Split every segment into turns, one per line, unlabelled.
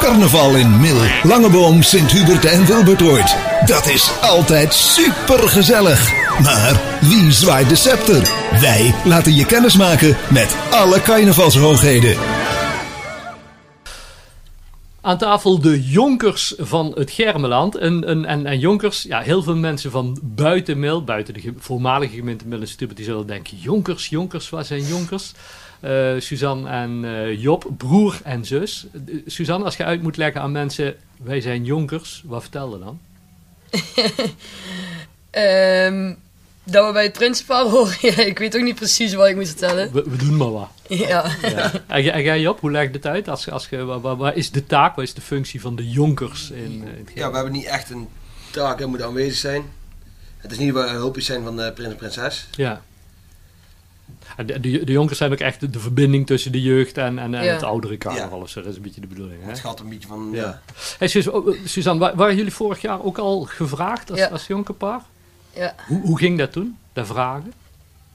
Carnaval in Mil, Langeboom, Sint-Hubert en Wilbertoord. Dat is altijd supergezellig. Maar wie zwaait de scepter? Wij laten je kennis maken met alle carnavalshoogheden.
Aan tafel de jonkers van het Germeland. En, en, en, en jonkers, ja, heel veel mensen van buiten Mil, buiten de ge- voormalige gemeente Mil en Stubert, die zullen denken, jonkers, jonkers, waar zijn jonkers? Eh, Suzanne en eh, Job, broer en zus. Eh, Suzanne, als je uit moet leggen aan mensen, wij zijn jonkers, wat vertel je dan?
Ehm, dat we bij het principaal horen. Ja, ik weet ook niet precies wat ik moet vertellen.
We, we doen maar wat.
Ja.
En, jij- en jij Job, hoe legt het uit? Als, als, je- waar, waar- waar is de taak, wat is de functie van de jonkers? In, eh, het
Ja, we hebben niet echt een taak, hij moet aanwezig zijn. Het is niet waar hulpjes zijn van de prins en prinses.
Ja. En de, de, de jonkers zijn ook echt de, de verbinding tussen de jeugd en, en, en
Ja.
het oudere carnaval. of zo. dat is een beetje de bedoeling. Hè?
Het gaat een beetje van.
Ja.
Ja.
Hey, Suus- oh, eh, Suzanne, wa- waren jullie vorig jaar ook al gevraagd als,
Ja.
als jonkerpaar?
Ja.
Hoe, hoe ging dat toen, dat vragen?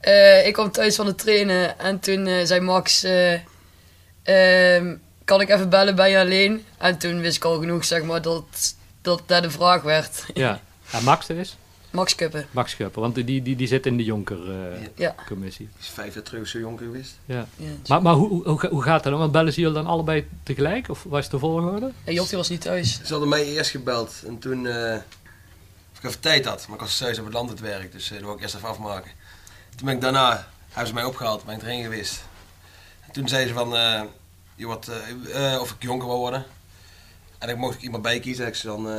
Eh, ik kwam thuis van het trainen en toen eh, zei Max, eh, ehm, kan ik even bellen, ben je alleen? En toen wist ik al genoeg, zeg maar, dat dat, dat de vraag werd.
Ja. En Max er is?
Max Kuppen.
Max Schupper, want die, die, die zit in de jonkercommissie.
Ja.
commissie.
Hij is vijf jaar terug zo jong geweest.
ja.
Ja.
Maar, maar hoe, hoe, hoe- hoe gaat dat dan? Want bellen ze jullie dan allebei tegelijk? Of was de volgorde?
En Job die was niet thuis.
Ze hadden mij eerst gebeld en toen. eh, of ik even tijd had, maar ik was thuis op het land aan het werk, dus eh dat wou ik eerst even afmaken. Toen ben ik daarna, hebben ze mij opgehaald, ben ik erheen geweest. En toen zeiden ze van. eh, je wordt, eh, eh, of ik jonker wil worden. En ik mocht ik iemand bij kiezen, heb ik ze dan eh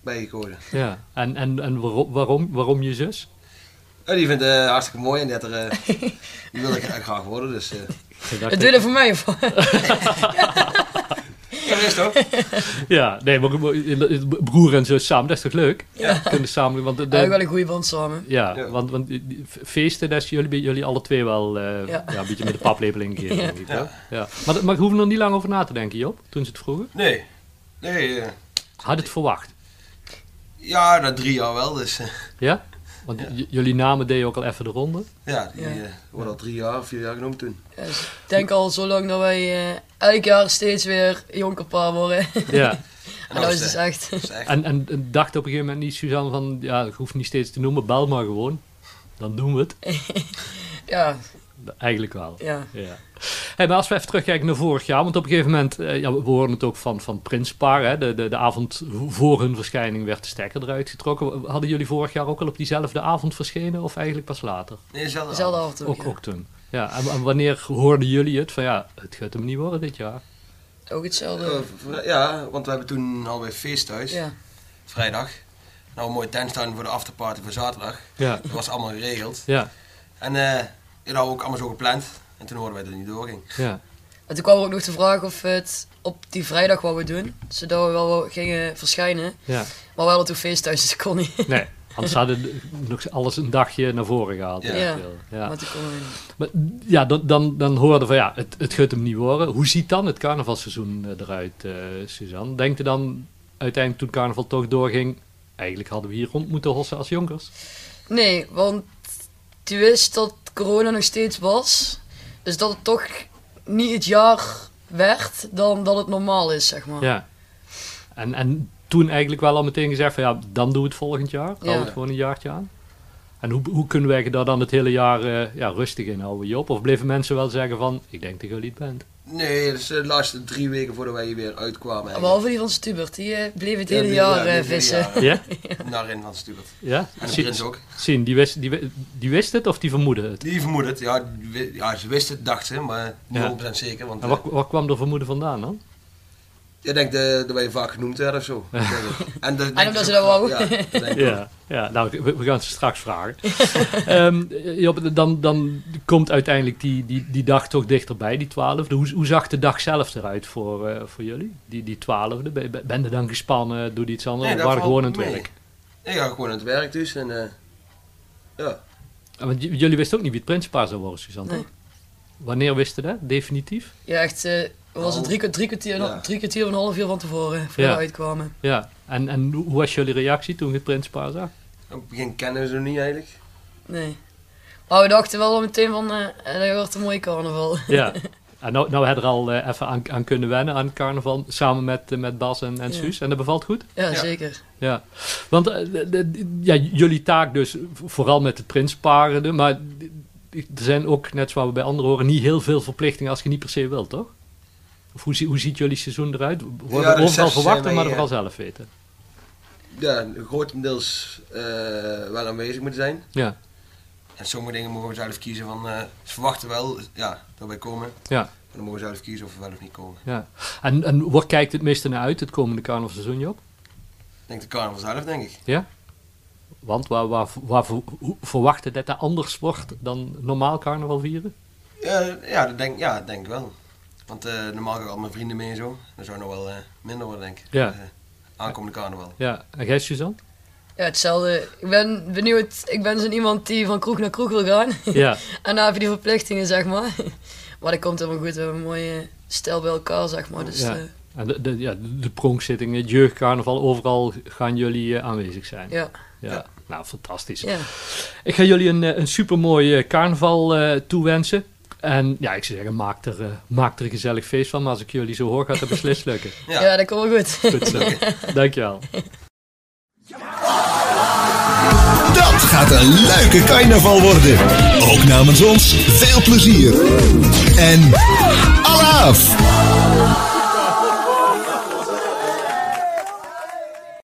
bijgekozen.
Ja. En, en, en waarom, waarom, waarom je zus?
Eh, die vindt het hartstikke mooi en die, had er, eh, die wilde ik eigenlijk graag worden, dus. eh
Ik dacht-
Het doe je dat voor mij of wat?
dat is toch?
Ja, nee, maar maar- broer en zus samen, dat is toch leuk? Ja. Kunnen samen, want de, de-
Eigenlijk wel een goede band samen.
ja,
Ja.
want, want die- die feesten, dat is jullie, bij jullie alle twee wel eh, ja.
Ja.
een beetje met de paplepel ingegeven.
Ja.
denk ik, hè? Ja. Maar, dat- maar ik hoef er nog niet lang over na te denken, Job, toen ze het vroegen.
Nee. Nee, eh,
Had het verwacht,
ja, na drie jaar wel, dus eh,
ja? Want j- jullie namen deden ook al even de ronde.
ja, die
Ja.
eh, worden al drie jaar, vier jaar genoemd toen.
Ja, dus ik denk al zo lang dat wij eh, elk jaar steeds weer jonkerpaar worden.
Ja.
Nou,
en dat is dus echt...
Dat is echt.
En, en, en dacht op een gegeven moment niet Suzanne van, ja, ik hoef niet steeds te noemen, bel maar gewoon. Dan doen we het.
Ja,
Eigenlijk wel.
ja.
Ja. Hey, maar als we even terugkijken naar vorig jaar, want op een gegeven moment, eh, ja, we horen het ook van, van Prinspaar, hè, de, de, de avond voor hun verschijning werd de stekker eruit getrokken. Hadden jullie vorig jaar ook al op diezelfde avond verschenen of eigenlijk pas later?
Nee, dezelfde
Dezelfde
avond.
avond ook,
Ook,
ja.
ook toen. Ja, en, en wanneer hoorden jullie het van ja, het gaat hem niet worden dit jaar?
Ook hetzelfde.
Eh, v- ja, want we hebben toen alweer feest thuis,
Ja.
vrijdag. Nou, een mooie tent staan voor de afterparty voor zaterdag.
Ja,
Dat was allemaal geregeld.
ja,
En eh, dat hadden we ook allemaal zo gepland. En toen hoorden wij dat het niet doorging.
ja.
En toen kwam er ook nog de vraag of we het op die vrijdag wat we doen, zodat we wel gingen verschijnen.
ja.
Maar we hadden toen feest thuis, dus dat kon niet.
Nee, anders hadden de- nog alles een dagje naar voren gehaald.
Ja.
weet ik
Ja.
veel. ja.
Maar toen konden we niet.
Maar, ja, dan, dan, dan hoorden we van ja, het, het gaat hem niet worden. Hoe ziet dan het carnavalseizoen eh, eruit, eh, Suzanne? Denkt u dan uiteindelijk toen carnaval toch doorging, eigenlijk hadden we hier rond moeten hossen als jonkers?
Nee, want je wist dat corona nog steeds was. Dus dat het toch niet het jaar werd dan dat het normaal is, zeg maar.
Ja. En, en toen eigenlijk wel al meteen gezegd van ja, dan doen we het volgend jaar. Houden we
Ja.
het gewoon een jaartje aan. En hoe, hoe kunnen wij daar dan het hele jaar eh, ja, rustig in houden, Job? Of bleven mensen wel zeggen van, ik denk dat jullie het bent?
Nee, dus de laatste drie weken voordat wij hier weer uitkwamen. eigenlijk.
Behalve die van Stubert, die eh, bleef Ah, het
Ja,
hele
die- ja,
jaar
die
eh,
hele
vissen.
jaren.
Ja?
Narin van Stubert.
Ja?
En de
Zien-
prins ook.
Zien, die wist, die, wi- die wist het of die vermoedde het?
Die vermoedt het. Ja, die wi- ja, ze wist het, dacht ze, maar niet 100% zeker. Want,
En
eh,
waar, waar kwam er vermoeden vandaan dan?
Ik denk dat, dat wij vaak genoemd werden of zo. Ik denk het. En, dat,
omdat ze dat wou.
Ja, dat denk ik ook.
Ja, ja nou, we, we gaan ze straks vragen. Ehm, Job, dan, dan komt uiteindelijk die, die, die dag toch dichterbij, die twaalfde. Hoe, hoe zag de dag zelf eruit voor, eh, voor jullie, die, die twaalfde? Ben, ben- ben je dan gespannen, doe je iets anders?
Nee,
of
dat
waren
valt
gewoon aan het
mee.
werk?
Ik ga gewoon aan het werk dus. En, eh, ja.
Ah, Want j- jullie wisten ook niet wie het prinsenpaar zou worden, Suzanne,
Nee.
toch? Wanneer wisten dat, definitief?
Ja, echt, eh, we was het drie, kwa- drie kwartier,
Ja.
drie kwartier of een half uur van tevoren, voordat
Ja.
we uitkwamen.
Ja, en, en hoe hoe was jullie reactie toen je het prinsenpaar zag?
Op het begin kennen we ze nog niet eigenlijk.
eh, Nee. Maar we dachten wel meteen van, eh, dat wordt een mooi carnaval.
Ja, En nou, nou hebben we er al eh, even aan, aan kunnen wennen aan het carnaval. Samen met, eh, met Bas en, en
Ja.
Suus. En dat bevalt goed?
Ja,
Ja.
zeker.
Ja, want eh, de- de- ja, jullie taak dus vooral met de prinsparen, maar er zijn ook, net zoals we bij anderen horen, niet heel veel verplichtingen als je niet per se wilt, toch? Of hoe, zie- hoe ziet jullie seizoen eruit? Worden
Ja, de
overal
recepties
verwacht,
zijn
maar
wij,
vooral zelf weten.
Ja, grotendeels eh, wel aanwezig moeten zijn.
Ja,
En sommige dingen mogen we zelf kiezen van, eh, ze verwachten wel ja, dat wij komen.
ja,
Maar dan mogen we zelf kiezen of we wel of niet komen.
ja. En, en waar kijkt het meeste naar uit het komende carnavalseizoen, Job?
Ik denk de carnaval zelf, denk ik.
Ja? Want waar, waar, waar ver- hoe- verwachten dat dat anders wordt dan normaal carnaval vieren?
Ja, Eh, ja, dat denk, ja, dat denk ik wel. Want eh, normaal ga ik al mijn vrienden mee en zo. Dan zou het nog wel eh, minder worden, denk ik.
Ja.
Eh, aankomende carnaval.
Ja, en jij Suzanne?
Ja, hetzelfde. Ik ben benieuwd. Ik ben zo'n iemand die van kroeg naar kroeg wil gaan.
Ja,
en dan heb je die verplichtingen, zeg maar. Maar dat komt helemaal goed. We hebben een mooie stijl bij elkaar, zeg maar. Dus,
Ja.
eh,
en de, de, ja, de pronkzittingen, het jeugdcarnaval, overal gaan jullie eh, aanwezig zijn.
ja.
Ja,
Ja.
nou fantastisch.
ja.
Ik ga jullie een, eh, een supermooi eh, carnaval eh, toewensen. En ja, ik zou zeggen, maak er, eh, maak er een gezellig feest van. Maar als ik jullie zo hoor, gaat dat beslist lukken.
Ja. dat komt wel goed.
Goed zo. Dankjewel.
Dat gaat een leuke carnaval worden. Ook namens ons veel plezier. En alaaf!